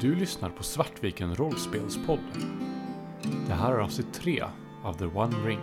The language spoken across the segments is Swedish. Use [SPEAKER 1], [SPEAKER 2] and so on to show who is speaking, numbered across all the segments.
[SPEAKER 1] Du lyssnar på Svartviken Rollspelspodden. Det här är avsnitt 3 av The One Ring.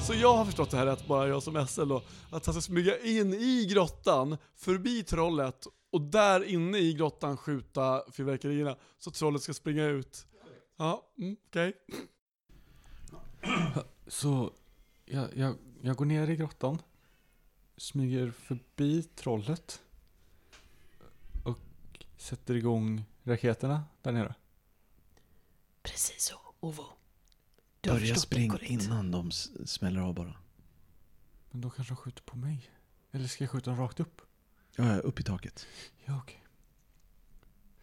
[SPEAKER 2] Så jag har förstått det här rätt, bara jag som SL då, att han ska smyga in i grottan, förbi trollet och där inne i grottan skjuta fyrverkerierna så trollet ska springa ut. Ja, mm, okej.
[SPEAKER 3] Så jag, jag, jag går ner i grottan. Smyger förbi trollet. Och sätter igång raketerna där nere.
[SPEAKER 4] Precis så, Ovo. Du har
[SPEAKER 5] Börja
[SPEAKER 4] förstått det
[SPEAKER 5] spring
[SPEAKER 4] korrekt.
[SPEAKER 5] innan de s- smäller av bara.
[SPEAKER 3] Men då kanske de skjuter på mig. Eller ska jag skjuta dem rakt upp?
[SPEAKER 5] Ja, ja, upp i taket.
[SPEAKER 3] Ja, okej.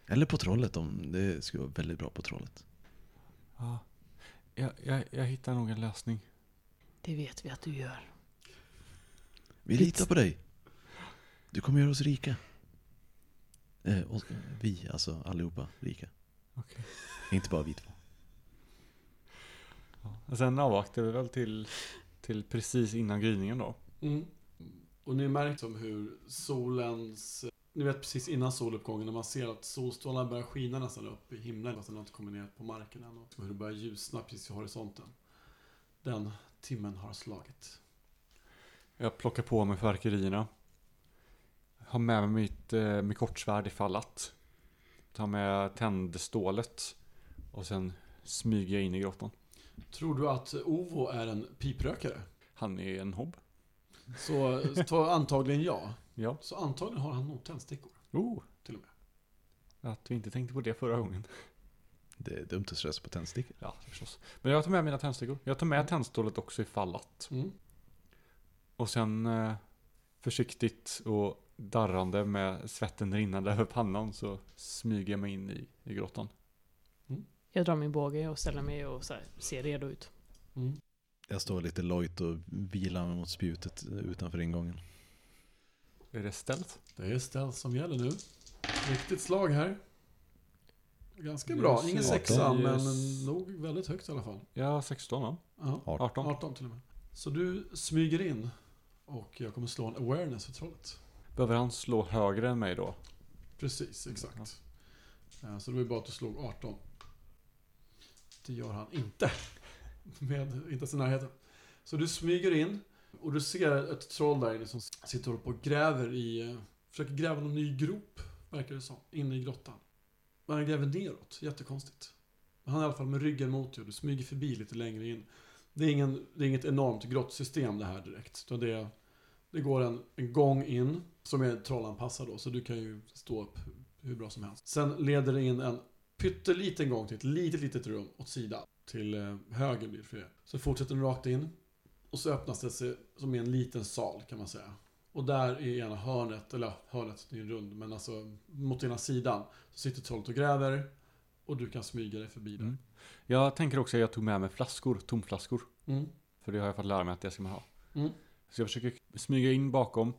[SPEAKER 5] Eller på trollet om det skulle vara väldigt bra på trollet.
[SPEAKER 3] Ja. Jag, jag, jag hittar nog en lösning.
[SPEAKER 4] Det vet vi att du gör.
[SPEAKER 5] Vi litar på dig. Du kommer göra oss rika. Eh, och, vi, alltså allihopa rika.
[SPEAKER 3] Okej.
[SPEAKER 5] Inte bara vi två.
[SPEAKER 3] Ja. Sen avvaktar vi väl till, till precis innan gryningen då.
[SPEAKER 2] Mm. Och ni märker som hur solens, ni vet precis innan soluppgången när man ser att solstrålarna börjar skina nästan upp i himlen fast den har inte kommit ner på marken än och hur det börjar ljusna precis i horisonten. Den timmen har slagit.
[SPEAKER 3] Jag plockar på mig fyrverkerierna. Har med mig mitt, eh, mitt kortsvärd ifall att. Tar med tändstålet. Och sen smyger jag in i grottan.
[SPEAKER 2] Tror du att Ovo är en piprökare?
[SPEAKER 3] Han är en hobb.
[SPEAKER 2] Så, så antagligen ja.
[SPEAKER 3] Ja.
[SPEAKER 2] Så antagligen har han nog tändstickor.
[SPEAKER 3] Oh,
[SPEAKER 2] Till och med.
[SPEAKER 3] att vi inte tänkte på det förra gången.
[SPEAKER 5] Det är dumt att stressa på tändstickor.
[SPEAKER 3] Ja, förstås. Mm. Men jag tar med mina tändstickor. Jag tar med tändstålet också ifall att.
[SPEAKER 2] Mm.
[SPEAKER 3] Och sen eh, försiktigt och darrande med svetten rinnande över pannan så smyger jag mig in i, i grottan.
[SPEAKER 4] Jag drar min båge och ställer mig och så här, ser redo ut.
[SPEAKER 2] Mm.
[SPEAKER 5] Jag står lite lojt och vilar mig mot spjutet utanför ingången.
[SPEAKER 3] Är det ställt?
[SPEAKER 2] Det är ställ som gäller nu. Riktigt slag här. Ganska bra. Ingen sexa,
[SPEAKER 3] Arton.
[SPEAKER 2] men
[SPEAKER 3] Yes.
[SPEAKER 2] nog väldigt högt i alla fall.
[SPEAKER 3] Ja, 16 va?
[SPEAKER 2] Ja,
[SPEAKER 3] 18.
[SPEAKER 2] 18 till och med. Så du smyger in och jag kommer slå en awareness för trollet.
[SPEAKER 3] Behöver han slå högre än mig då?
[SPEAKER 2] Precis, exakt. Eh, Så det var ju bara att du slog 18. Det gör han inte. Med, inte ens i närheten. Så du smyger in och du ser ett troll där inne som sitter och håller på och gräver i... eh, Försöker gräva någon ny grop, verkar det som, inne i grottan. Men han gräver neråt, jättekonstigt. Men han är i alla fall med ryggen mot dig och du smyger förbi lite längre in. Det är, ingen, det är inget enormt grottsystem det här direkt. Utan det, är- det går en, en gång in som är trollanpassad då, så du kan ju stå upp hur bra som helst. Sen leder det in en pytteliten gång till ett litet, litet rum åt sidan. Till eh, höger blir det för er. Så fortsätter den rakt in. Och så öppnas det sig som i en liten sal kan man säga. Och där i ena hörnet, eller ja, hörnet, det är en rund, men alltså mot ena sidan så sitter trollet och gräver. Och du kan smyga dig förbi där.
[SPEAKER 3] Mm. Jag tänker också att jag tog med mig flaskor, tomflaskor.
[SPEAKER 2] Mm.
[SPEAKER 3] För det har jag fått lära mig att det ska man ha.
[SPEAKER 2] Mm.
[SPEAKER 3] Så jag försöker smyga in bakom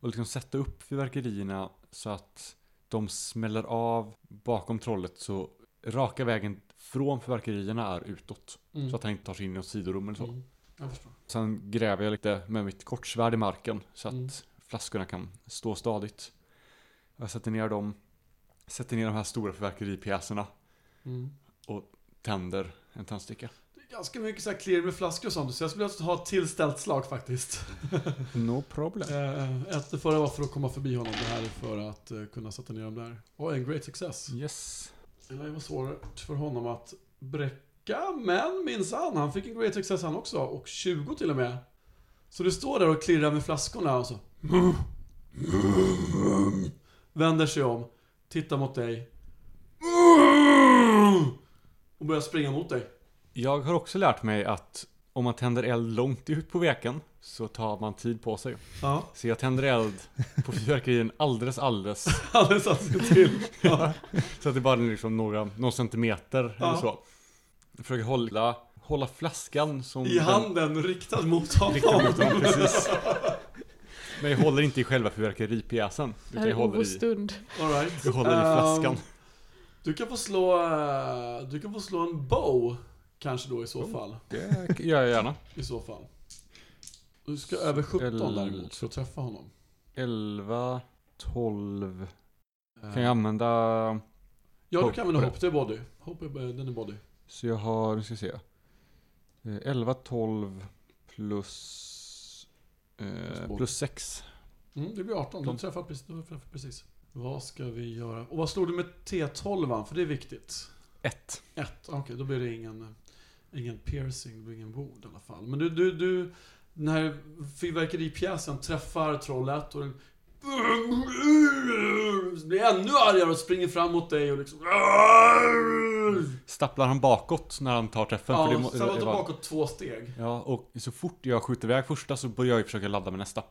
[SPEAKER 3] och liksom sätta upp fyrverkerierna så att de smäller av bakom trollet så raka vägen från fyrverkerierna är utåt.
[SPEAKER 2] Mm.
[SPEAKER 3] Så att han inte tar sig in i något sidorum eller så.
[SPEAKER 2] Mm. Jag förstår.
[SPEAKER 3] Sen gräver jag lite med mitt kortsvärd i marken så att
[SPEAKER 2] Mm.
[SPEAKER 3] flaskorna kan stå stadigt. Jag sätter ner dem, sätter ner de här stora fyrverkeripjäserna,
[SPEAKER 2] Mm.
[SPEAKER 3] tänder en tändsticka.
[SPEAKER 2] Det är ganska mycket så här clear med flaskor och sånt, så jag skulle alltså ha ett tillställt slag faktiskt.
[SPEAKER 3] No problem.
[SPEAKER 2] Eh, Ett det förra var för att komma förbi honom, det här är för att eh, kunna sätta ner dem där. Och en great success.
[SPEAKER 3] Yes.
[SPEAKER 2] Det lär ju vara svårt för honom att bräcka, men minsann, han fick en great success han också, och 20 till och med. Så du står där och klirrar med flaskorna och så... Vänder sig om, tittar mot dig. Och börjar springa mot dig.
[SPEAKER 3] Jag har också lärt mig att om man tänder eld långt ut på veken så tar man tid på sig.
[SPEAKER 2] Ja,
[SPEAKER 3] Så jag tänder eld på fyrverkerien alldeles, alldeles.
[SPEAKER 2] han satte sig till.
[SPEAKER 3] så att det bara är liksom några, någon centimeter
[SPEAKER 2] Ja.
[SPEAKER 3] eller så. Jag försöker hålla, hålla flaskan som...
[SPEAKER 2] I handen riktad mot honom.
[SPEAKER 3] Riktad mot honom, precis. Men jag håller inte i själva fyrverkeripjäsen.
[SPEAKER 4] Det här
[SPEAKER 3] Utan jag
[SPEAKER 4] är
[SPEAKER 3] håller
[SPEAKER 4] Ovos
[SPEAKER 3] i,
[SPEAKER 4] stund.
[SPEAKER 2] All right.
[SPEAKER 3] jag håller i
[SPEAKER 2] Ehm,
[SPEAKER 3] flaskan.
[SPEAKER 2] du, kan få slå, eh, du kan få slå en bow, kanske då i
[SPEAKER 3] Oh.
[SPEAKER 2] så fall.
[SPEAKER 3] Det gör jag gärna.
[SPEAKER 2] I så fall. Du ska över 17
[SPEAKER 3] Eller-
[SPEAKER 2] däremot för att träffa honom.
[SPEAKER 3] 11, 12.
[SPEAKER 2] Eh,
[SPEAKER 3] Kan jag använda...
[SPEAKER 2] ja, du
[SPEAKER 3] hopp
[SPEAKER 2] kan använda
[SPEAKER 3] på
[SPEAKER 2] hopp, det är body. Hopp är, eh, den är body.
[SPEAKER 3] Så jag har, nu ska jag se. Eh, 11, 12 plus... Eh,
[SPEAKER 2] boll.
[SPEAKER 3] plus 6.
[SPEAKER 2] Mm, det blir 18, du
[SPEAKER 3] Tom.
[SPEAKER 2] träffar precis, du träffar precis. Vad ska vi göra? Och vad slog du med T12? För det är viktigt.
[SPEAKER 3] 1.
[SPEAKER 2] Ett, okej, då blir det ingen, eh, ingen piercing, det blir ingen wound i alla fall. Men du, du, du, den här fyrverkeripjäsen träffar trollet och den blir ännu argare och springer fram mot dig och liksom...
[SPEAKER 3] Stapplar han bakåt när han tar träffen?
[SPEAKER 2] Ja,
[SPEAKER 3] för det
[SPEAKER 2] sen var
[SPEAKER 3] må- det var-
[SPEAKER 2] tillbaka två steg.
[SPEAKER 3] Ja, och så fort jag skjuter iväg första så börjar jag ju försöka ladda med nästa.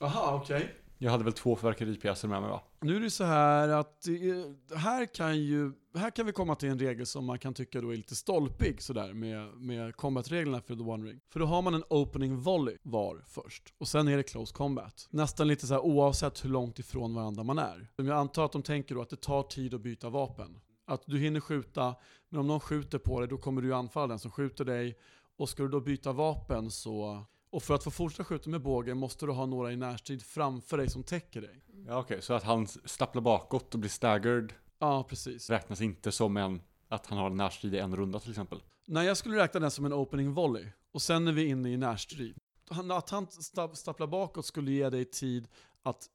[SPEAKER 2] Aha, okej.
[SPEAKER 3] Jag hade väl två fyrverkeripjäser med mig va?
[SPEAKER 2] Nu är det så här att eh, här kan, ju, här kan vi komma till en regel som man kan tycka då är lite stolpig sådär med, med combat-reglerna för The One Ring. För då har man en opening volley var först och sen är det close combat. Nästan lite så här oavsett hur långt ifrån varandra man är. Men Jag antar att de tänker då att det tar tid att byta vapen. Att du hinner skjuta, men om någon skjuter på dig då kommer du anfalla den som skjuter dig och ska du då byta vapen så och för att få fortsätta skjuta med bågen måste du ha några i närstrid framför dig som täcker dig.
[SPEAKER 3] Ja okej, så att han stapplar bakåt och blir staggered
[SPEAKER 2] Ja, precis.
[SPEAKER 3] räknas inte som en att han har en närstrid i en runda till exempel.
[SPEAKER 2] Nej, jag skulle räkna den som en opening volley. Och sen är vi inne i närstrid. Han, att han sta- stapplar bakåt skulle ge dig tid att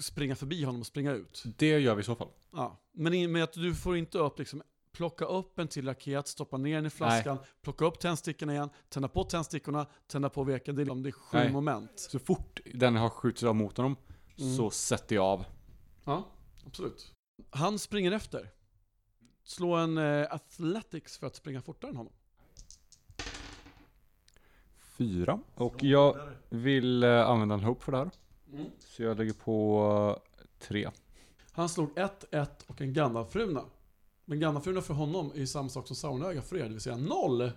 [SPEAKER 2] springa förbi honom och springa ut.
[SPEAKER 3] Det gör vi i så fall.
[SPEAKER 2] Ja. Men i och med att du får inte upp liksom, plocka upp en till raket, stoppa ner den i flaskan, plocka upp tändstickorna igen, tända på tändstickorna, tända på veken. Det är, liksom- det är sju
[SPEAKER 3] Nej.
[SPEAKER 2] moment.
[SPEAKER 3] Så fort den har skjutits av mot honom
[SPEAKER 2] Mm.
[SPEAKER 3] så sätter jag av.
[SPEAKER 2] Ja, absolut. Han springer efter. Slå en eh, athletics för att springa fortare än honom.
[SPEAKER 3] Fyra. Och jag vill eh, använda en hope för det här.
[SPEAKER 2] Mm.
[SPEAKER 3] Så jag lägger på eh, tre.
[SPEAKER 2] Han slog 1-1 och en Gandalfruna. Men Gandalfruna för honom är ju samma sak som Saunöga för er, det vill säga noll.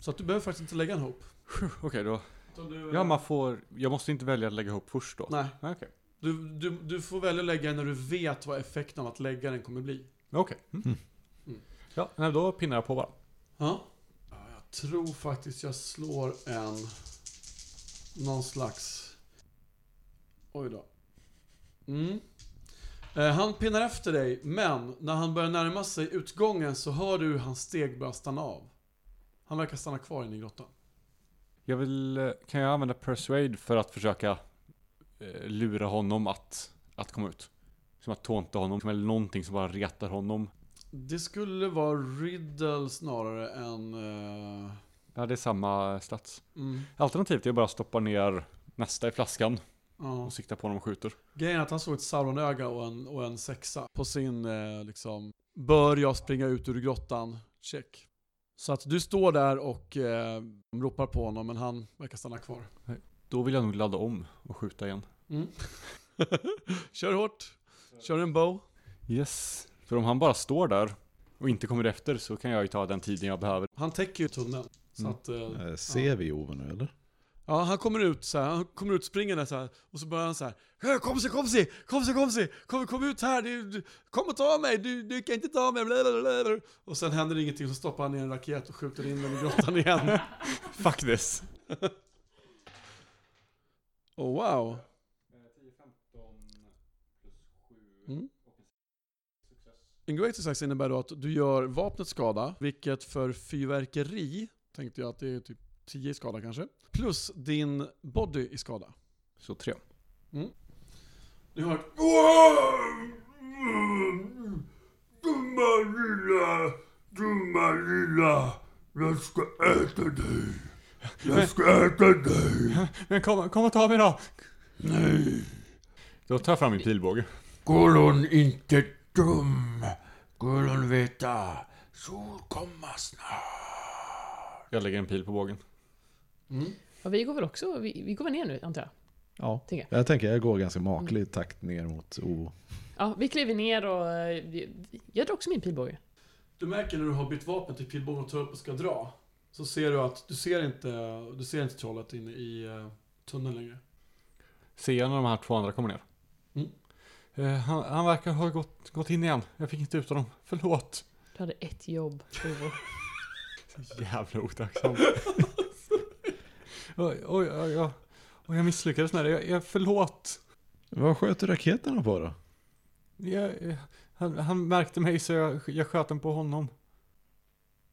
[SPEAKER 2] Så att du behöver faktiskt inte lägga en hop.
[SPEAKER 3] Okej då.
[SPEAKER 2] Utan Du,
[SPEAKER 3] Ja man får, jag måste inte välja att lägga ihop först då.
[SPEAKER 2] Nej,
[SPEAKER 3] Nej, Okej.
[SPEAKER 2] du, du, du får välja att lägga en när du vet vad effekten av att lägga den kommer bli.
[SPEAKER 3] Okej. Mm.
[SPEAKER 2] Mm.
[SPEAKER 3] Ja, nej, då pinnar jag på bara.
[SPEAKER 2] Ja. Ja, Jag tror faktiskt jag slår en... Någon slags... Oj då. Mm. Eh, Han pinnar efter dig, men när han börjar närma sig utgången så hör du hur hans steg börjar stanna av. Han verkar stanna kvar inne i grottan.
[SPEAKER 3] Jag vill, eh, kan jag använda persuade för att försöka eh, lura honom att, att komma ut? Som att tånta honom, eller någonting som bara retar honom.
[SPEAKER 2] Det skulle vara riddle snarare än... eh,
[SPEAKER 3] Ja, det är samma stats.
[SPEAKER 2] mm,
[SPEAKER 3] Alternativt är att bara stoppa ner nästa i flaskan
[SPEAKER 2] ja.
[SPEAKER 3] och sikta på honom och skjuter.
[SPEAKER 2] Grejen är att han såg ett Sauronöga och en, och en sexa på sin eh, liksom, Bör jag springa ut ur grottan? Check. Så att du står där och eh, ropar på honom men han verkar stanna kvar.
[SPEAKER 3] Då vill jag nog ladda om och skjuta igen.
[SPEAKER 2] Mm. Kör hårt. Kör en bow.
[SPEAKER 3] Yes. För om han bara står där och inte kommer efter så kan jag ju ta den tiden jag behöver.
[SPEAKER 2] Han täcker ju tunneln. Så
[SPEAKER 3] Mm.
[SPEAKER 2] att, eh,
[SPEAKER 5] Eh, ser vi Ove nu eller?
[SPEAKER 2] Ja, han kommer ut så här, han kommer ut springande så här och så börjar han så här "Hö, Kom se, kom se, kom se, kom se, kom, kom ut här, du, du, kom och ta mig, du, du kan inte ta mig, bla, bla, bla, bla." Och sen händer ingenting så stoppar han ner en raket och skjuter in den i grottan igen.
[SPEAKER 3] Fuck this.
[SPEAKER 2] Oh wow. Mm. En great success innebär då att du gör vapnet skada, vilket för fyrverkeri tänkte jag att det är typ 10 i skada kanske. Plus din body i skada.
[SPEAKER 3] Så tre.
[SPEAKER 2] Du hör ett Dumma lilla, dumma lilla, jag ska äta dig. Jag ska äta dig.
[SPEAKER 3] Men kom, kom och ta mig då! Nej. Då tar jag fram min pilbåge.
[SPEAKER 2] Går hon inte dum, går hon veta, sol komma snart.
[SPEAKER 3] Jag lägger en pil på bågen.
[SPEAKER 4] Ja, vi går väl också, vi, vi går väl ner nu antar jag.
[SPEAKER 5] Ja.
[SPEAKER 4] Tänker
[SPEAKER 5] Jag tänker jag går ganska maklig takt ner mot O.
[SPEAKER 4] Ja, vi kliver ner och... eh, vi- Jag drar också min pilbåge.
[SPEAKER 2] Du märker när du har bytt vapen till pilbågen och tar upp och ska dra, Så ser du att du ser inte, du ser inte trollet inne i eh, tunneln längre.
[SPEAKER 3] Ser jag när de här två andra kommer ner?
[SPEAKER 2] Mm.
[SPEAKER 3] Eh, han, han verkar ha gått, gått in igen. Jag fick inte ut honom. Förlåt.
[SPEAKER 4] Du hade ett jobb, Ovo.
[SPEAKER 3] Jävla otacksam. oj, oj, oj, oj. Och jag misslyckades med det. Jag, jag, förlåt.
[SPEAKER 5] Vad sköt du raketerna på då?
[SPEAKER 3] Jag, jag, han, han märkte mig så jag, jag sköt den på honom.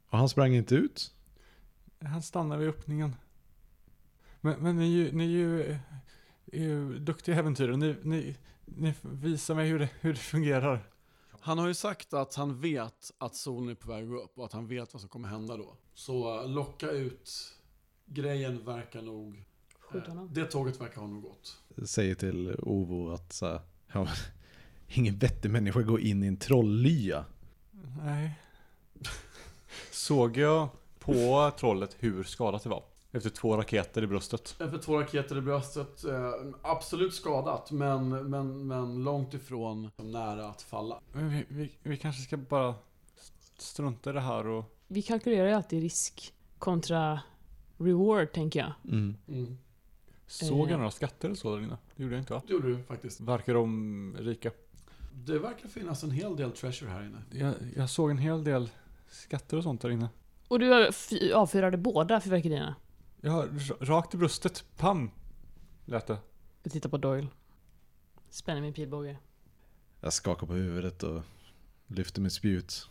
[SPEAKER 5] Och han sprang inte ut?
[SPEAKER 3] Han stannar vid öppningen. Men, men ni, är ju- ni är ju, eh, är ju duktiga äventyrare. Ni, ni, ni visar mig hur det, hur det fungerar.
[SPEAKER 2] Han har ju sagt att han vet att solen är på väg att gå upp och att han vet vad som kommer hända då. Så eh, locka ut grejen verkar nog...
[SPEAKER 4] Skjut
[SPEAKER 2] eh,
[SPEAKER 4] honom.
[SPEAKER 2] Det tåget verkar ha nog gått.
[SPEAKER 5] Säger till Ovo att så här, ja, men, ingen vettig människa går in i en trolllya.
[SPEAKER 3] Nej. Såg jag på trollet hur skadat det var? Efter två raketer i bröstet.
[SPEAKER 2] Efter två raketer i bröstet, eh, absolut skadat men, men, men långt ifrån nära att falla.
[SPEAKER 3] Men vi, vi, vi kanske ska bara strunta i det här och...
[SPEAKER 4] Vi kalkylerar ju alltid risk kontra reward, tänker jag.
[SPEAKER 5] Mm.
[SPEAKER 2] Mm.
[SPEAKER 3] Såg
[SPEAKER 4] Eh.
[SPEAKER 3] jag några skatter eller så där inne? Det gjorde jag inte va?
[SPEAKER 2] Det gjorde du faktiskt.
[SPEAKER 3] Verkar de rika?
[SPEAKER 2] Det verkar finnas en hel del treasure här inne.
[SPEAKER 3] Jag, jag såg en hel del skatter och sånt där inne.
[SPEAKER 4] Och du f- avfyrade båda fyrverkerierna.
[SPEAKER 3] Ja, r- rakt i bröstet. Pam! Lät det.
[SPEAKER 4] Jag tittar på Doyle. Spänner min pilbåge.
[SPEAKER 5] Jag skakar på huvudet och lyfter mitt spjut.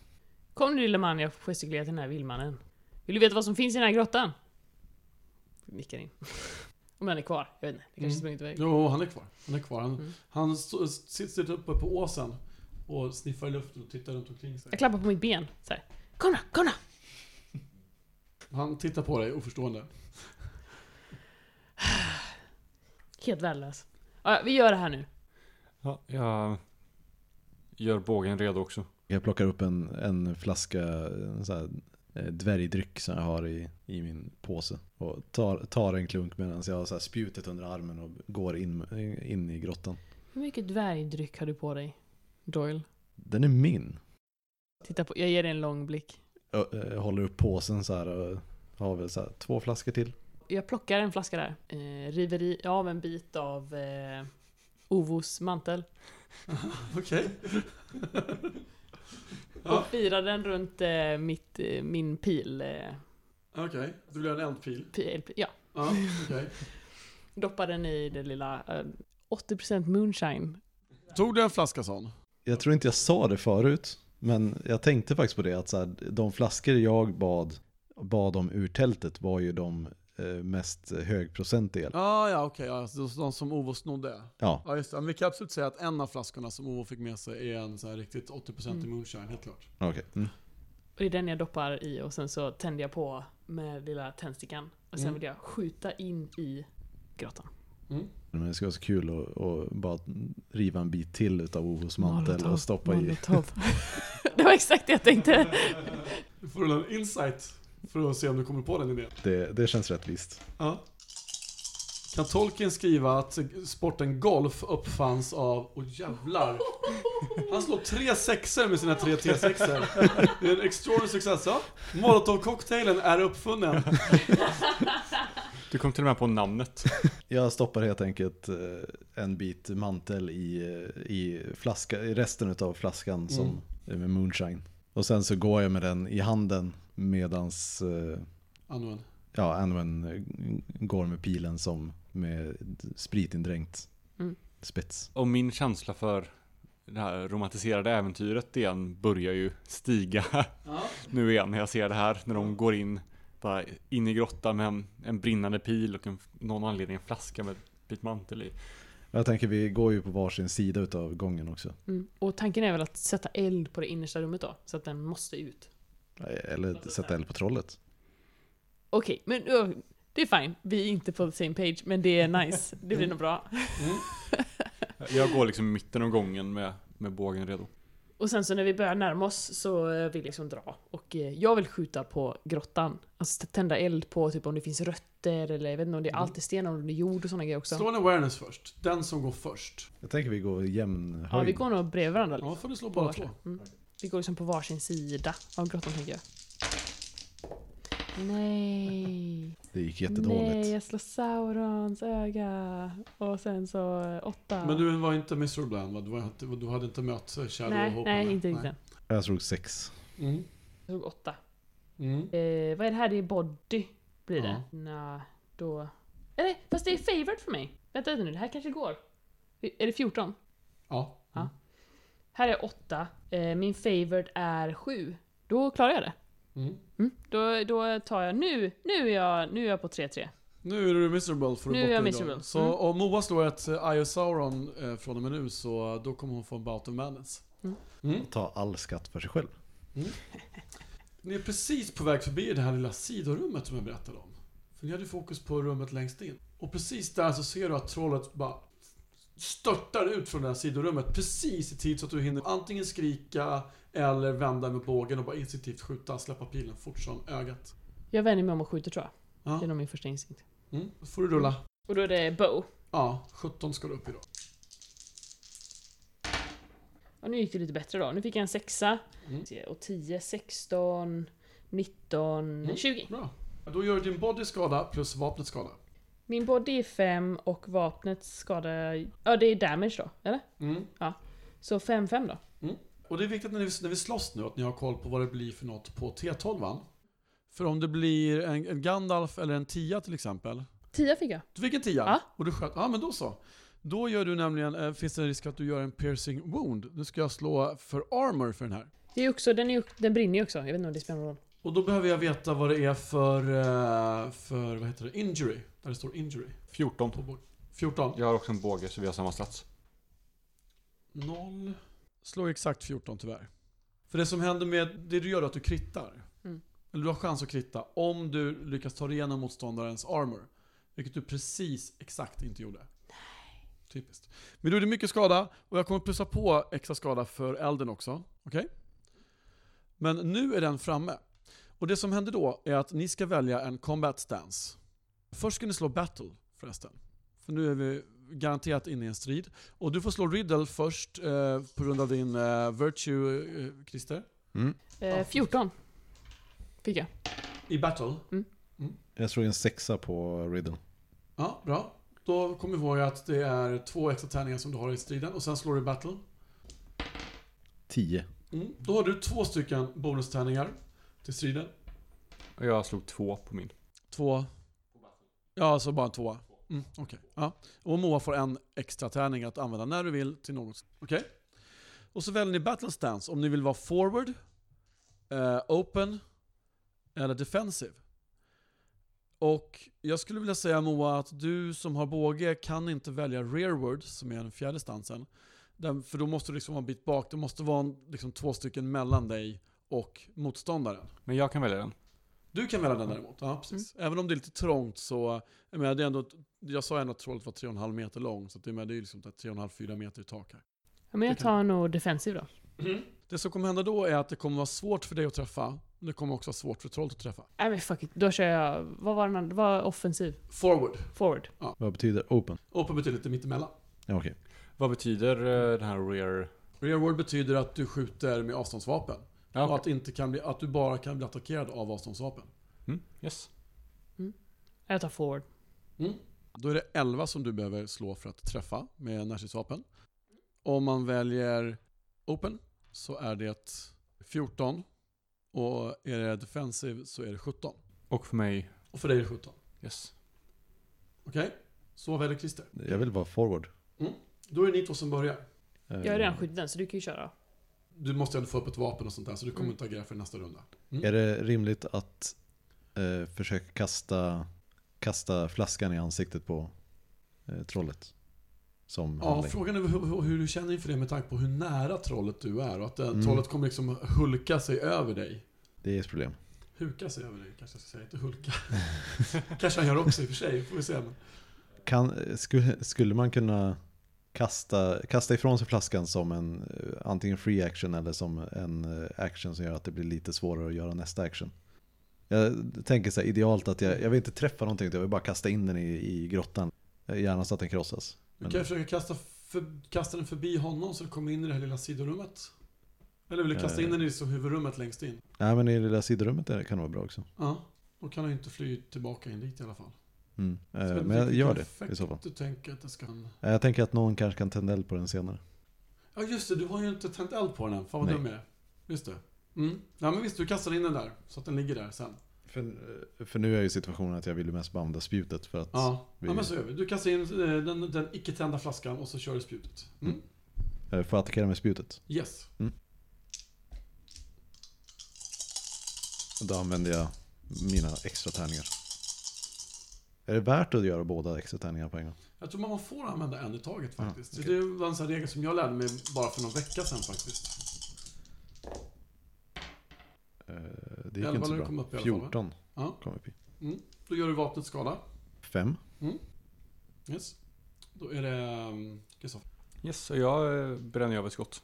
[SPEAKER 4] Kom nu lille man, jag gestikulerar till den här vildmannen. Vill du veta vad som finns i den här grottan? Nickar in. Om den är kvar, jag vet inte. Det kanske
[SPEAKER 2] Mm.
[SPEAKER 4] sprungit iväg.
[SPEAKER 2] Jo, han är kvar. Han är kvar. Han,
[SPEAKER 4] Mm.
[SPEAKER 2] han stå- sitter typ uppe på åsen och sniffar i luften och tittar runt omkring sig.
[SPEAKER 4] Jag klappar på mitt ben. Så här. Kom då, kom då!
[SPEAKER 2] Han tittar på dig oförstående.
[SPEAKER 4] Helt värdelös. Ja, ja, vi gör det här nu.
[SPEAKER 3] Ja, jag gör bågen redo också.
[SPEAKER 5] Jag plockar upp en, en flaska en så här, eh, dvärgdryck som jag har i, i min påse. Och tar, tar en klunk medan jag har så här spjutet under armen och går in, in i grottan.
[SPEAKER 4] Hur mycket dvärgdryck har du på dig? Doyle.
[SPEAKER 5] Den är min.
[SPEAKER 4] Titta på, jag ger dig en lång blick.
[SPEAKER 5] Jag, jag håller upp påsen så här och har väl så här, två flaskor till.
[SPEAKER 4] Jag plockar en flaska där. Eh, river i, av en bit av eh, Ovos mantel.
[SPEAKER 2] Okej.
[SPEAKER 4] Och
[SPEAKER 2] ja,
[SPEAKER 4] firar den runt eh, mitt, eh, min pil. Eh,
[SPEAKER 2] okej. Det blir en eldpil.
[SPEAKER 4] pil ja.
[SPEAKER 2] Ja, okej.
[SPEAKER 4] Doppar den i det lilla eh, 80% moonshine.
[SPEAKER 2] Tog du en flaska sån?
[SPEAKER 5] Jag tror inte jag sa det förut, men jag tänkte faktiskt på det att så här, de flaskor jag bad, bad om ur tältet var ju de eh, mest högprocentiga.
[SPEAKER 2] Ja, ja, okej. ja, så de som Ovo snodde.
[SPEAKER 5] Ja,
[SPEAKER 2] Ja, just det. Men vi kan absolut säga att en av flaskorna som Ovo fick med sig är en så här riktigt 80% i
[SPEAKER 4] Mm.
[SPEAKER 2] moonshine, helt klart.
[SPEAKER 5] okej. Mm.
[SPEAKER 4] Och det är den jag doppar i och sen så tänder jag på med lilla tändstickan. Och sen
[SPEAKER 2] Mm.
[SPEAKER 4] vill jag skjuta in i grottan.
[SPEAKER 5] Men det skulle vara så kul att att bara riva en bit till utav Ovos mantel och stoppa i.
[SPEAKER 4] Molotov. det var exakt det jag tänkte.
[SPEAKER 2] Du får en insight för att se om du kommer på den idén.
[SPEAKER 5] Det, det känns rättvist.
[SPEAKER 2] Ja. Kan Tolkien skriva att sporten golf uppfanns av... Åh jävlar! Han slår tre sexer med sina tre T6er. Det är en extraordinary success. Ja. Molotov-cocktailen är uppfunnen.
[SPEAKER 3] Du kom till och med på namnet.
[SPEAKER 5] Jag stoppar helt enkelt eh, en bit mantel i, eh, i, flaska, i resten utav flaskan som med moonshine. Och sen så går jag med den i handen medans eh,
[SPEAKER 2] Anwen.
[SPEAKER 5] ja, Anwen eh, går med pilen som med spritindränkt
[SPEAKER 4] Mm.
[SPEAKER 5] spets.
[SPEAKER 3] Och min känsla för det här romantiserade äventyret igen börjar ju stiga nu igen när jag ser det här. När de går in, bara in i grottan med en, en brinnande pil och en, någon anledning en flaska med ett bit mantel i.
[SPEAKER 5] Jag tänker vi går ju på varsin sida utav gången också.
[SPEAKER 4] Mm. Och tanken är väl att sätta eld på det innersta rummet då, så att den måste ut.
[SPEAKER 5] Eller sätta eld på trollet.
[SPEAKER 4] Okej, men ö, det är fine. Vi är inte på the same page, men det är nice. Det blir nog bra.
[SPEAKER 3] Jag går liksom i mitten av gången med, med bågen redo.
[SPEAKER 4] Och sen så när vi börjar närma oss så eh, vill jag liksom dra. Och eh, jag vill skjuta på grottan. Alltså t- tända eld på typ om det finns rötter eller jag vet inte om det är
[SPEAKER 2] Mm.
[SPEAKER 4] alltid om det är jord och såna grejer också.
[SPEAKER 2] Slå en awareness först. Den som går först.
[SPEAKER 5] Jag tänker vi går i jämn höjd.
[SPEAKER 4] Ja, vi går nog bredvid varandra.
[SPEAKER 2] Ja, får du slå
[SPEAKER 4] På
[SPEAKER 2] bara två.
[SPEAKER 4] varsin. Mm. Vi går liksom på varsin sida av grottan tänker jag. Nej.
[SPEAKER 5] Det gick jättedåligt.
[SPEAKER 4] Nej, jag slår Saurons öga. Och sen så eh, åtta.
[SPEAKER 2] Men du var inte Mr. Bland va? Du, var, inte- du hade inte mött Shadow och
[SPEAKER 4] nej,
[SPEAKER 2] Hope?
[SPEAKER 4] nej,
[SPEAKER 2] eller?
[SPEAKER 4] inte riktigt än.
[SPEAKER 5] Jag slog sex.
[SPEAKER 2] Mm.
[SPEAKER 4] Jag tog åtta.
[SPEAKER 2] Mm.
[SPEAKER 4] Eh, vad är det här? Det är body. Blir det.
[SPEAKER 2] Ja.
[SPEAKER 4] Nja, då... Eller, fast det är favored för mig. Vänta lite nu, det här kanske går. Är det 14?
[SPEAKER 2] Ja.
[SPEAKER 4] Ja. Här är 8. Eh, min favored är 7. Då klarar jag det.
[SPEAKER 2] Mm.
[SPEAKER 4] Mm. Då, då tar jag... Nu! Nu är jag, nu är jag på 3-3.
[SPEAKER 2] Nu är du miserable för att
[SPEAKER 4] Nu är
[SPEAKER 2] bocka
[SPEAKER 4] jag miserable.
[SPEAKER 2] Så
[SPEAKER 4] Mm.
[SPEAKER 2] om Moa slår ett eh, Eye of Sauron eh, från och med nu så eh, då kommer hon få en bout of madness.
[SPEAKER 5] Ta all skatt för sig själv.
[SPEAKER 2] Ni är precis på väg förbi det här lilla sidorummet som jag berättade om. För ni hade fokus på rummet längst in. Och precis där så ser du att trollet bara störtar ut från det här sidorummet precis i tid så att du hinner antingen skrika eller vända med bågen och bara instinktivt skjuta, släppa pilen fort som ögat.
[SPEAKER 4] Jag vänder mig om och skjuter tror jag.
[SPEAKER 2] Ja.
[SPEAKER 4] Det är nog min första instinkt.
[SPEAKER 2] Mm. Då får du rulla.
[SPEAKER 4] Och då är det bow.
[SPEAKER 2] Ja, 17 ska du upp idag.
[SPEAKER 4] Och nu gick det lite bättre då. Nu fick jag en sexa.
[SPEAKER 2] Mm.
[SPEAKER 4] Och 10, 16, 19,
[SPEAKER 2] Mm.
[SPEAKER 4] 20.
[SPEAKER 2] Bra. Då gör din body skada plus vapnet skada.
[SPEAKER 4] Min body är 5 och vapnet skada... Ja, det är damage då, eller?
[SPEAKER 2] Mm.
[SPEAKER 4] Så 5-5 då.
[SPEAKER 2] Och det är viktigt när vi, när vi slåss nu att ni har koll på vad det blir för något på T12. För om det blir en, en Gandalf eller en Tia till exempel.
[SPEAKER 4] 10 fick jag.
[SPEAKER 2] Du fick en Tia
[SPEAKER 4] Ja.
[SPEAKER 2] och du sköt. Ja, men då så. Då gör du nämligen, eh, finns det en risk att du gör en piercing wound. Nu ska jag slå för armor för den här.
[SPEAKER 4] Det är också, den, är, ju- den brinner ju också. Jag vet inte om det spelar någon roll.
[SPEAKER 2] Och då behöver jag veta vad det är för, eh, för vad heter det, injury. Där det står injury.
[SPEAKER 3] 14.
[SPEAKER 2] På bord. 14.
[SPEAKER 3] Jag har också en båge så vi har samma sats.
[SPEAKER 2] Noll. Slår exakt 14 tyvärr. För det som händer med det du gör är att du krittar.
[SPEAKER 4] Mm.
[SPEAKER 2] Eller du har chans att kritta om du lyckas ta dig igenom motståndarens armor. Vilket du precis exakt inte gjorde. Nej. Typiskt. Men du gjorde mycket skada och jag kommer plussa på extra skada för elden också. Okej? Men nu är den framme. Och det som händer då är att ni ska välja en combat stance. Först ska ni slå battle förresten. För nu är vi garanterat inne i en strid. Och du får slå Riddle först eh, på grund av din eh, Virtue, eh, Christer.
[SPEAKER 4] Eh, 14 fick jag.
[SPEAKER 2] I battle?
[SPEAKER 5] Jag slog en sexa på Riddle.
[SPEAKER 2] Ja, bra. Då kom ihåg att det är två extra tärningar som du har i striden och sen slår du i battle.
[SPEAKER 5] Tio.
[SPEAKER 2] Mm. Då har du två stycken bonustärningar till striden.
[SPEAKER 3] Och jag slog två på min.
[SPEAKER 2] Två... Ja, alltså bara en tvåa. Mm, Okej. Ja. Och Moa får en extra tärning att använda när du vill till något. Okej? Och så väljer ni battle stance om ni vill vara forward, eh, open eller defensive. Och jag skulle vilja säga Moa att du som har båge kan inte välja rearward som är den fjärde stansen. Den, för då måste du liksom vara en bit bak. Det måste vara en, liksom två stycken mellan dig och motståndaren.
[SPEAKER 3] Men jag kan välja den.
[SPEAKER 2] Du kan välja den däremot, ja precis. Även om det är lite trångt så, jag menar det är ändå, jag sa ändå att trollet var 3,5 meter lång, så att det, men det är ju liksom 3,5-4 meter i tak här.
[SPEAKER 4] Ja, men jag
[SPEAKER 2] Det
[SPEAKER 4] tar nog defensiv då.
[SPEAKER 2] Det som kommer hända då är att det kommer vara svårt för dig att träffa, men det kommer också vara svårt för trollet att träffa.
[SPEAKER 4] Nej men fuck it. Då kör jag... Vad var den andra? Vad var offensiv?
[SPEAKER 2] Forward.
[SPEAKER 4] Forward.
[SPEAKER 5] Vad betyder open?
[SPEAKER 2] Open betyder lite mittemellan.
[SPEAKER 5] Ja, okej.
[SPEAKER 3] Vad betyder eh, den här rear?
[SPEAKER 2] Rearward betyder att du skjuter med avståndsvapen.
[SPEAKER 3] Ja,
[SPEAKER 2] Och
[SPEAKER 3] okej.
[SPEAKER 2] att, inte kan bli, att du bara kan bli attackerad av avståndsvapen.
[SPEAKER 3] mm, yes.
[SPEAKER 4] Jag tar forward.
[SPEAKER 2] Då är det 11 som du behöver slå för att träffa med närstridsvapen. Om man väljer open så är det 14 och är det defensive så är det 17.
[SPEAKER 3] Och för mig,
[SPEAKER 2] Och för dig är det 17.
[SPEAKER 3] yes.
[SPEAKER 2] Okej? Så väljer Christer.
[SPEAKER 5] Jag vill vara forward.
[SPEAKER 2] Då är det ni två som börjar.
[SPEAKER 5] Eh,
[SPEAKER 4] Jag har redan skjutit den så du kan ju köra.
[SPEAKER 2] Du måste ändå få upp ett vapen och sånt där så du kommer
[SPEAKER 4] Mm.
[SPEAKER 2] inte agera för nästa runda.
[SPEAKER 5] Är det rimligt att eh, försöka kasta, kasta flaskan i ansiktet på eh, trollet? Som
[SPEAKER 2] Ja,
[SPEAKER 5] handling.
[SPEAKER 2] frågan är hur, hur du känner inför det med tanke på hur nära trollet du är och att det,
[SPEAKER 5] Mm.
[SPEAKER 2] trollet kommer liksom hulka sig över dig.
[SPEAKER 5] Det är ett problem.
[SPEAKER 2] Huka sig över dig kanske jag ska säga, inte hulka. kanske han gör också i och för sig, får vi se. Men...
[SPEAKER 5] Kan, skulle, skulle man kunna kasta, kasta ifrån sig flaskan som en eh, antingen free action eller som en eh, action som gör att det blir lite svårare att göra nästa action? Jag tänker så här idealt att jag, jag vill inte träffa någonting, utan jag vill bara kasta in den i, i grottan. Eh, Gärna så att den krossas.
[SPEAKER 2] Du
[SPEAKER 5] Men-
[SPEAKER 2] kan ju försöka kasta, för, kasta den förbi honom så du kommer in i det här lilla sidorummet. Eller vill du kasta in
[SPEAKER 5] Eh.
[SPEAKER 2] den i liksom huvudrummet längst in?
[SPEAKER 5] Nej men i det lilla sidorummet där kan det vara bra också.
[SPEAKER 2] Ja. Då kan han ju inte fly tillbaka in dit i alla fall.
[SPEAKER 5] Mm.
[SPEAKER 2] Så vet
[SPEAKER 5] Eh, Men
[SPEAKER 2] inte
[SPEAKER 5] jag
[SPEAKER 2] vilken
[SPEAKER 5] gör det
[SPEAKER 2] effekt
[SPEAKER 5] i så fall.
[SPEAKER 2] Du tänker att det ska... en-
[SPEAKER 5] Eh, Jag tänker att någon kanske kan tända eld på den senare.
[SPEAKER 2] Ja just det, du har ju inte tänt eld på den än. Fan vad
[SPEAKER 5] Nej.
[SPEAKER 2] dum jag är. Just det. Mm. Ja men visst, du kastar in den där. Så att den ligger där sen.
[SPEAKER 5] För, eh, för nu är ju situationen att jag vill ju mest bara använda spjutet för att...
[SPEAKER 2] Ja,
[SPEAKER 5] vi-
[SPEAKER 2] ja men så gör vi. Du kastar in eh, den, den icke tända flaskan och så kör du spjutet. Mm.
[SPEAKER 5] eh, Få attackera med spjutet.
[SPEAKER 2] Yes.
[SPEAKER 5] Då använder jag mina extra tärningar. Är det värt att göra båda extra tärningarna på en gång?
[SPEAKER 2] Jag tror man får använda en i taget
[SPEAKER 5] Ja,
[SPEAKER 2] faktiskt.
[SPEAKER 5] okej.
[SPEAKER 2] Det var en sån här regel som jag lärde mig bara för någon vecka sedan faktiskt.
[SPEAKER 5] Eh, Det gick
[SPEAKER 2] Elva
[SPEAKER 5] inte så
[SPEAKER 2] lär
[SPEAKER 5] bra.
[SPEAKER 2] komma upp i alla fall, va?
[SPEAKER 5] 14
[SPEAKER 2] Ja.
[SPEAKER 5] kom upp i.
[SPEAKER 2] Då gör du vapnet skada.
[SPEAKER 5] 5.
[SPEAKER 2] Yes. Då är det... ehm, Kristoffer.
[SPEAKER 3] Yes, och jag eh, bränner över ett skott.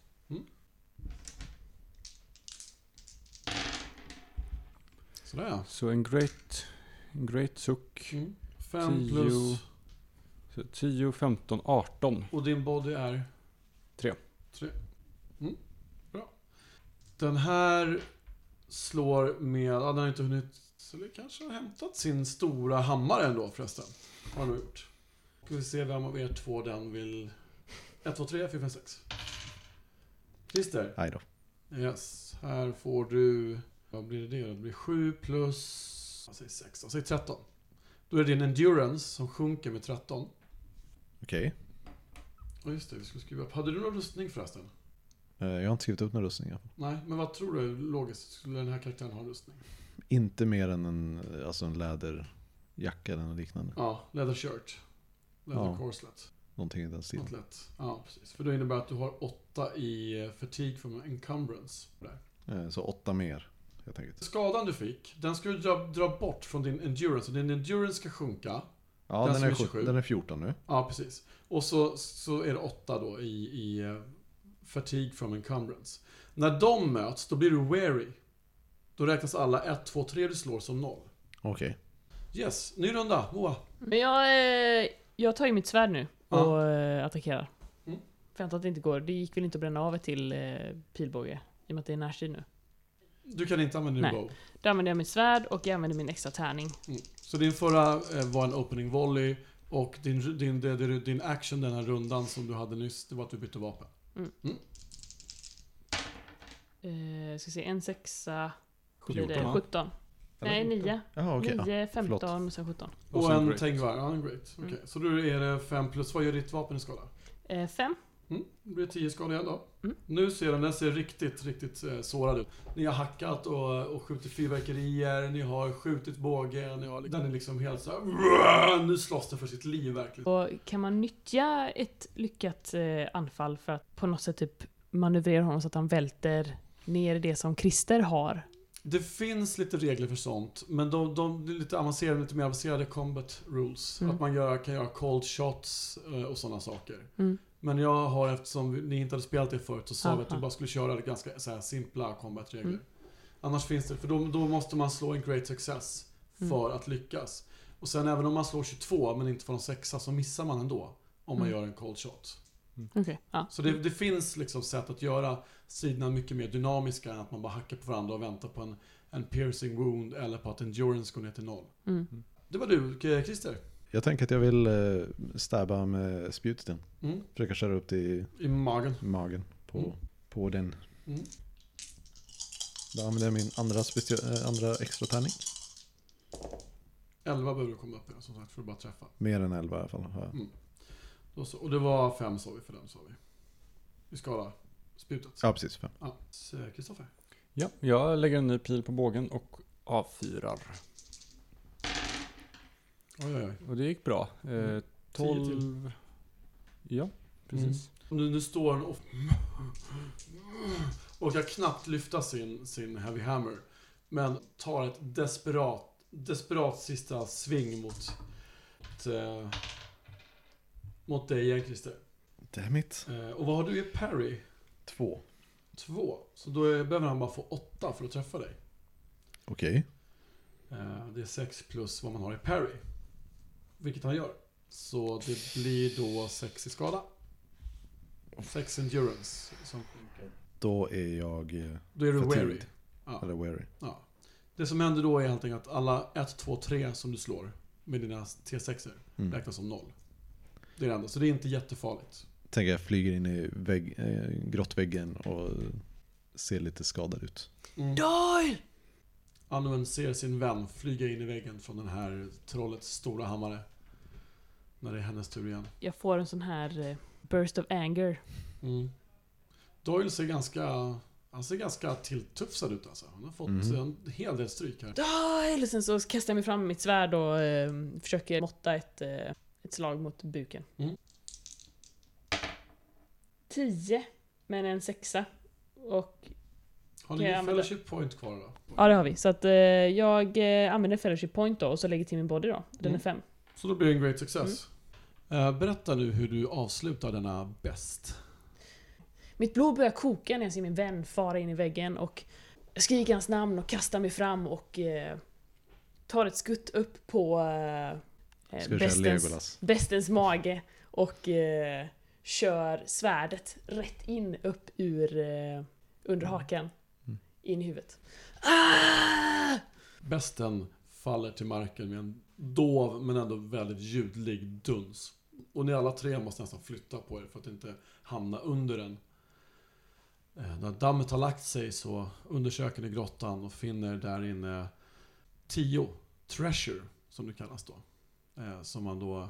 [SPEAKER 2] Sådär ja.
[SPEAKER 3] Så en great, en great suck.
[SPEAKER 2] Mm. Fem
[SPEAKER 3] Tio.
[SPEAKER 2] plus...
[SPEAKER 3] Så 10, 15, 18.
[SPEAKER 2] Och din body är?
[SPEAKER 3] Tre.
[SPEAKER 2] Tre. Mm. Bra. Den här slår med... Ja, den har inte hunnit... Eller kanske har hämtat sin stora hammare ändå förresten. Har den nog gjort. Ska vi se vem av er två den vill... 1, 2, 3, 4, 5, 6. Christer.
[SPEAKER 5] Aj då.
[SPEAKER 2] Yes. Här får du... Vad blir det? Det blir 7 plus... Jag säger 16. Jag säger 13. Då är det din endurance som sjunker med 13.
[SPEAKER 5] Okej.
[SPEAKER 2] Ja just det, vi skulle skriva upp. Hade du någon rustning förresten?
[SPEAKER 5] Eh, Jag har inte skrivit upp några rustningar.
[SPEAKER 2] Nej, men vad tror du logiskt? Skulle den här karaktären ha en rustning?
[SPEAKER 5] Inte mer än en, eh, alltså en läderjacka eller något liknande.
[SPEAKER 2] Ja, leather shirt. Leather
[SPEAKER 5] Ja.
[SPEAKER 2] corselet.
[SPEAKER 5] Någonting i den stilen.
[SPEAKER 2] Något lätt. Ja, precis. För det innebär att du har åtta i eh, fatigue from encumbrance. Där.
[SPEAKER 5] Eh, Så åtta mer helt enkelt.
[SPEAKER 2] Skadan du fick, den ska du dra, dra bort från din endurance. Och din endurance ska sjunka.
[SPEAKER 5] Ja,
[SPEAKER 2] Den
[SPEAKER 5] den,
[SPEAKER 2] som
[SPEAKER 5] är
[SPEAKER 2] är
[SPEAKER 5] sjut-
[SPEAKER 2] 27.
[SPEAKER 5] den är 14 nu.
[SPEAKER 2] Ja, precis. Och så, så är det åtta då i, i eh, fatigue from encumbrance. När de möts, då blir du weary. Då räknas alla 1, 2, 3 du slår som noll.
[SPEAKER 5] Okej.
[SPEAKER 2] Yes, ny runda. Moa.
[SPEAKER 4] Men jag, eh, jag tar ju mitt svärd nu
[SPEAKER 2] Ja.
[SPEAKER 4] och eh, attackerar.
[SPEAKER 2] Mm.
[SPEAKER 4] För jag antar att det inte går. Det gick väl inte att bränna av ett till eh, pilbåge. I och med att det är närstrid nu.
[SPEAKER 2] Du kan inte använda din
[SPEAKER 4] Nej.
[SPEAKER 2] bow.
[SPEAKER 4] Då använder jag mitt svärd och jag använder min extra tärning.
[SPEAKER 2] Mm. Så din förra eh, var en opening volley och din, din, det- det- din action den här rundan som du hade nyss, det var att du bytte vapen.
[SPEAKER 4] Eh, ska se, en sexa, blir
[SPEAKER 3] 14,
[SPEAKER 4] det
[SPEAKER 3] va?
[SPEAKER 4] 17.
[SPEAKER 5] Eller
[SPEAKER 4] Nej,
[SPEAKER 5] 14?
[SPEAKER 4] nio.
[SPEAKER 5] Jaha, okej. Ja.
[SPEAKER 4] Nio,
[SPEAKER 5] förlåt.
[SPEAKER 4] 15 och sen 17.
[SPEAKER 2] Och,
[SPEAKER 3] sen
[SPEAKER 2] en
[SPEAKER 3] break.
[SPEAKER 2] tängvar. Ja, en great. Okej, Så då är det 5 plus, vad gör ditt vapen i skada?
[SPEAKER 4] Eh, fem.
[SPEAKER 2] Mm. Det blir 10 skada igen då.
[SPEAKER 4] Mm.
[SPEAKER 2] Nu ser den, den ser riktigt, riktigt eh, sårad ut. Ni har hackat och, och skjutit fyrverkerier, ni har skjutit båge, ni har, den är liksom helt så här. Nu slåss den för sitt liv verkligen.
[SPEAKER 4] Och kan man nyttja ett lyckat eh, anfall för att på något sätt typ manövrera honom så att han välter ner det som Christer har?
[SPEAKER 2] Det finns lite regler för sånt, men de, de det är lite avancerade, lite mer avancerade combat rules.
[SPEAKER 4] Mm.
[SPEAKER 2] Att man gör, kan göra cold shots eh, och sådana saker.
[SPEAKER 4] Mm.
[SPEAKER 2] Men jag har, eftersom vi- ni inte hade spelat det förut, så sa vi att
[SPEAKER 4] Aha.
[SPEAKER 2] vi bara skulle köra ganska så här, simpla combat-regler.
[SPEAKER 4] Mm.
[SPEAKER 2] Annars finns det, för då, då måste man slå en great success
[SPEAKER 4] Mm.
[SPEAKER 2] för att lyckas. Och sen även om man slår 22 men inte får någon sexa så missar man ändå om man
[SPEAKER 4] Mm.
[SPEAKER 2] gör en cold shot.
[SPEAKER 4] Okej. Ja.
[SPEAKER 2] Så det, det finns liksom sätt att göra sidorna mycket mer dynamiska än att man bara hackar på varandra och väntar på en, en piercing wound eller på att endurance går ner till noll.
[SPEAKER 4] Mm.
[SPEAKER 2] Det var du, K- Christer.
[SPEAKER 5] Jag tänker att jag vill eh, stäba med spjutet igen.
[SPEAKER 2] Mm.
[SPEAKER 5] Försöka köra upp det i
[SPEAKER 2] I magen.
[SPEAKER 5] magen på,
[SPEAKER 2] Mm.
[SPEAKER 5] på den.
[SPEAKER 2] Mm.
[SPEAKER 5] Då använder jag min andra, specia- eh, andra extra tärning.
[SPEAKER 2] 11 behöver du komma upp i som sagt för att bara träffa.
[SPEAKER 5] Mer än 11 i alla fall. har jag.
[SPEAKER 2] Då så, och det var fem sa vi för den sa vi. Vi skala spjutet.
[SPEAKER 5] Ja, precis. Fem.
[SPEAKER 2] Ja. eh, Så, Kristoffer.
[SPEAKER 3] Ja, jag lägger en ny pil på bågen och avfyrar.
[SPEAKER 2] Oj, oj, oj.
[SPEAKER 3] Och det gick bra. Eh,
[SPEAKER 2] Mm.
[SPEAKER 3] 12... Ja, precis.
[SPEAKER 2] Nu, nu står han och... Och kan knappt lyfta sin, sin heavy hammer. Men tar ett desperat, desperat sista sving mot... Mot, eh, mot dig igen Christer.
[SPEAKER 5] Damn it.
[SPEAKER 2] Eh, och vad har du i parry?
[SPEAKER 5] Två.
[SPEAKER 2] Två. Så då är, behöver han bara få åtta för att träffa dig.
[SPEAKER 5] Okej.
[SPEAKER 2] Eh, det är sex plus vad man har i parry. Vilket han gör. Så det blir då sex i skada. Sex endurance. Som,
[SPEAKER 5] Då är jag eh,
[SPEAKER 2] då är du
[SPEAKER 5] Fatigued.
[SPEAKER 2] weary. Ja.
[SPEAKER 5] eller wary.
[SPEAKER 2] Ja. Det som händer då är helt enkelt att alla 1, 2, 3 som du slår med dina T6
[SPEAKER 5] Mm.
[SPEAKER 2] räknas som noll. Det är det enda, så det är inte jättefarligt.
[SPEAKER 5] Tänker jag flyger in i vägg, eh, grottväggen och ser lite skadad ut.
[SPEAKER 2] Mm.
[SPEAKER 4] Doyle!
[SPEAKER 2] Anwen ser sin vän flyga in i väggen från den här trollets stora hammare. När det är hennes tur igen.
[SPEAKER 4] Jag får en sån här eh, burst of anger.
[SPEAKER 2] Mm. Doyle ser ganska, han ser ganska tilltufsad ut alltså. Han har fått
[SPEAKER 5] Mhm.
[SPEAKER 2] en hel del stryk här.
[SPEAKER 4] Doyle! Sen så kastar jag mig fram med mitt svärd och eh, försöker måtta ett, eh, ett slag mot buken.
[SPEAKER 2] Mm.
[SPEAKER 4] Tio, men en sexa. Och
[SPEAKER 2] Har
[SPEAKER 4] Okej,
[SPEAKER 2] ni
[SPEAKER 4] jag
[SPEAKER 2] någon fellowship point kvar då?
[SPEAKER 4] ja, det har vi. Så att eh, jag eh, använder fellowship point då och så lägger till min body då. Den
[SPEAKER 2] Mm.
[SPEAKER 4] är fem.
[SPEAKER 2] Så då blir det en great success. Eh, berätta nu hur du avslutar denna bäst.
[SPEAKER 4] Mitt blod börjar koka när jag ser min vän fara in i väggen och jag skriker hans namn och kastar mig fram och eh, tar ett skutt upp på eh, eh,
[SPEAKER 5] Ska vi köra
[SPEAKER 4] bestens,
[SPEAKER 5] Legolas?
[SPEAKER 4] bestens mage och eh, kör svärdet rätt in upp ur eh, under hakan.
[SPEAKER 5] Mm.
[SPEAKER 4] In i huvudet. Ah!
[SPEAKER 2] Bästen faller till marken med en dov men ändå väldigt ljudlig duns. Och ni alla tre måste nästan flytta på er för att inte hamna under den. Eh, När dammet har lagt sig så undersöker ni grottan och finner där inne tio treasure, som det kallas då. Eh, Som man då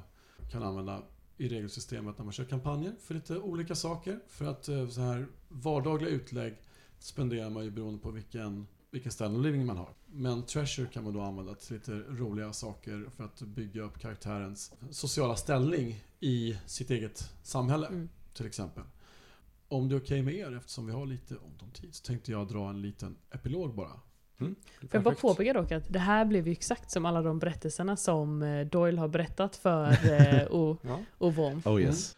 [SPEAKER 2] kan använda i regelsystemet när man kör kampanjer för lite olika saker. För att eh, så här vardagliga utlägg spenderar man ju beroende på vilken, vilken standardliving man har. Men treasure kan man då använda till lite roliga saker för att bygga upp karaktärens sociala ställning i sitt eget samhälle
[SPEAKER 4] Mm.
[SPEAKER 2] till exempel. Om det är okej med er, eftersom vi har lite ont om tid, så tänkte jag dra en liten epilog bara.
[SPEAKER 4] Får jag bara
[SPEAKER 3] Perfekt.
[SPEAKER 4] påpeka dock att det här blev ju exakt som alla de berättelserna som eh, Doyle har berättat för eh, O-
[SPEAKER 3] Ja.
[SPEAKER 4] Ovom.
[SPEAKER 5] Oh yes.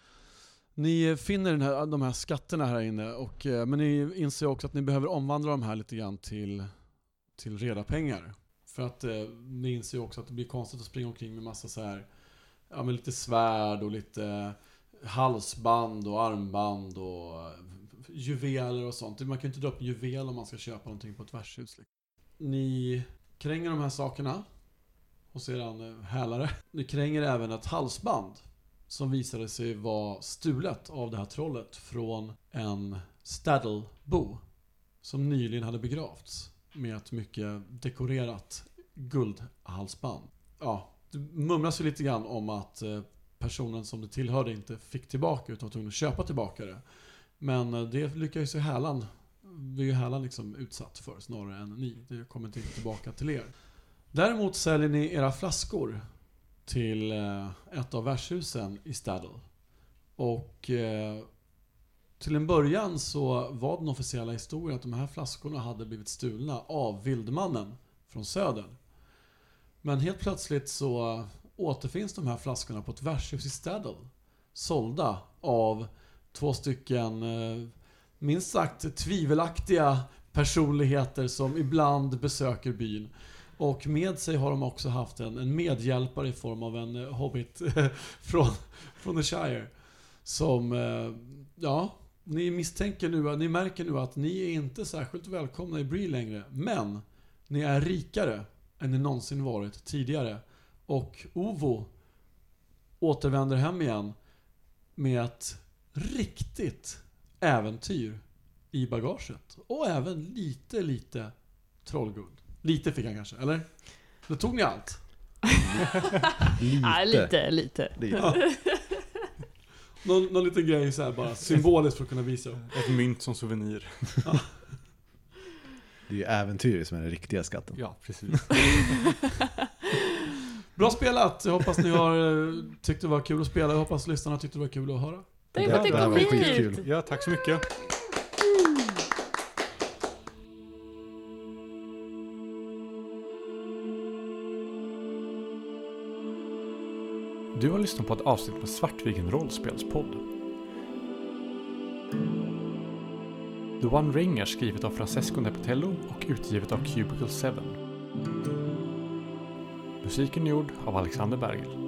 [SPEAKER 2] Ni finner den här, de här skatterna här inne, och, eh, men ni inser också att ni behöver omvandla de här lite grann till, till reda pengar. För att eh, ni inser också att det blir konstigt att springa omkring med massa så här, ja men lite svärd och lite halsband och armband och eh, juveler och sånt. Man kan ju inte dra upp en juvel om man ska köpa någonting på ett värdshus. Liksom. Ni kränger de här sakerna och sedan eh, hälare. Ni kränger även ett halsband som visade sig vara stulet av det här trollet från en stadlebo som nyligen hade begravts med ett mycket dekorerat guldhalsband. Ja, det mumlas ju lite grann om att eh, personen som det tillhörde inte fick tillbaka utan var tvungen att köpa tillbaka det. Men eh, det lyckades ju hälan, blir ju hälan liksom utsatt för snarare än ni. Det kommer inte tillbaka till er. Däremot säljer ni era flaskor till eh, ett av värdshusen i Staddle. Och eh, till en början så var den officiella historien att de här flaskorna hade blivit stulna av vildmannen från söder. Men helt plötsligt så återfinns de här flaskorna på ett värdshus i Staddle. Sålda av två stycken eh, minst sagt tvivelaktiga personligheter som ibland besöker byn. Och med sig har de också haft en, en medhjälpare i form av en eh, hobbit från, från The Shire. Som, eh, ja, ni misstänker nu, ni märker nu att ni är inte särskilt välkomna i Bree längre. Men ni är rikare än ni någonsin varit tidigare. Och Ovo återvänder hem igen med ett riktigt äventyr i bagaget. Och även lite, lite trollguld. Lite fick han kanske, eller? Då tog ni allt.
[SPEAKER 4] Ja, lite, lite.
[SPEAKER 5] lite.
[SPEAKER 2] Någon, någon liten grej så här bara symboliskt för att kunna visa upp.
[SPEAKER 3] Ett mynt som souvenir.
[SPEAKER 5] Det är ju äventyret som är den riktiga skatten.
[SPEAKER 3] Ja, precis.
[SPEAKER 2] Bra spelat! Jag hoppas ni har eh, tyckt det var kul att spela. Jag hoppas lyssnarna tyckte det var kul att höra.
[SPEAKER 4] Tänk
[SPEAKER 5] Det
[SPEAKER 4] att det typ
[SPEAKER 5] här
[SPEAKER 4] kom
[SPEAKER 5] var
[SPEAKER 4] hit!
[SPEAKER 5] skitkul.
[SPEAKER 3] Ja, tack så mycket.
[SPEAKER 1] Du har lyssnat på ett avsnitt med Svartviken Rollspelspodd. The One Ring är skrivet av Francesco Nepitello och utgivet av Cubicle 7. Musiken är gjord av Alexander Bergel.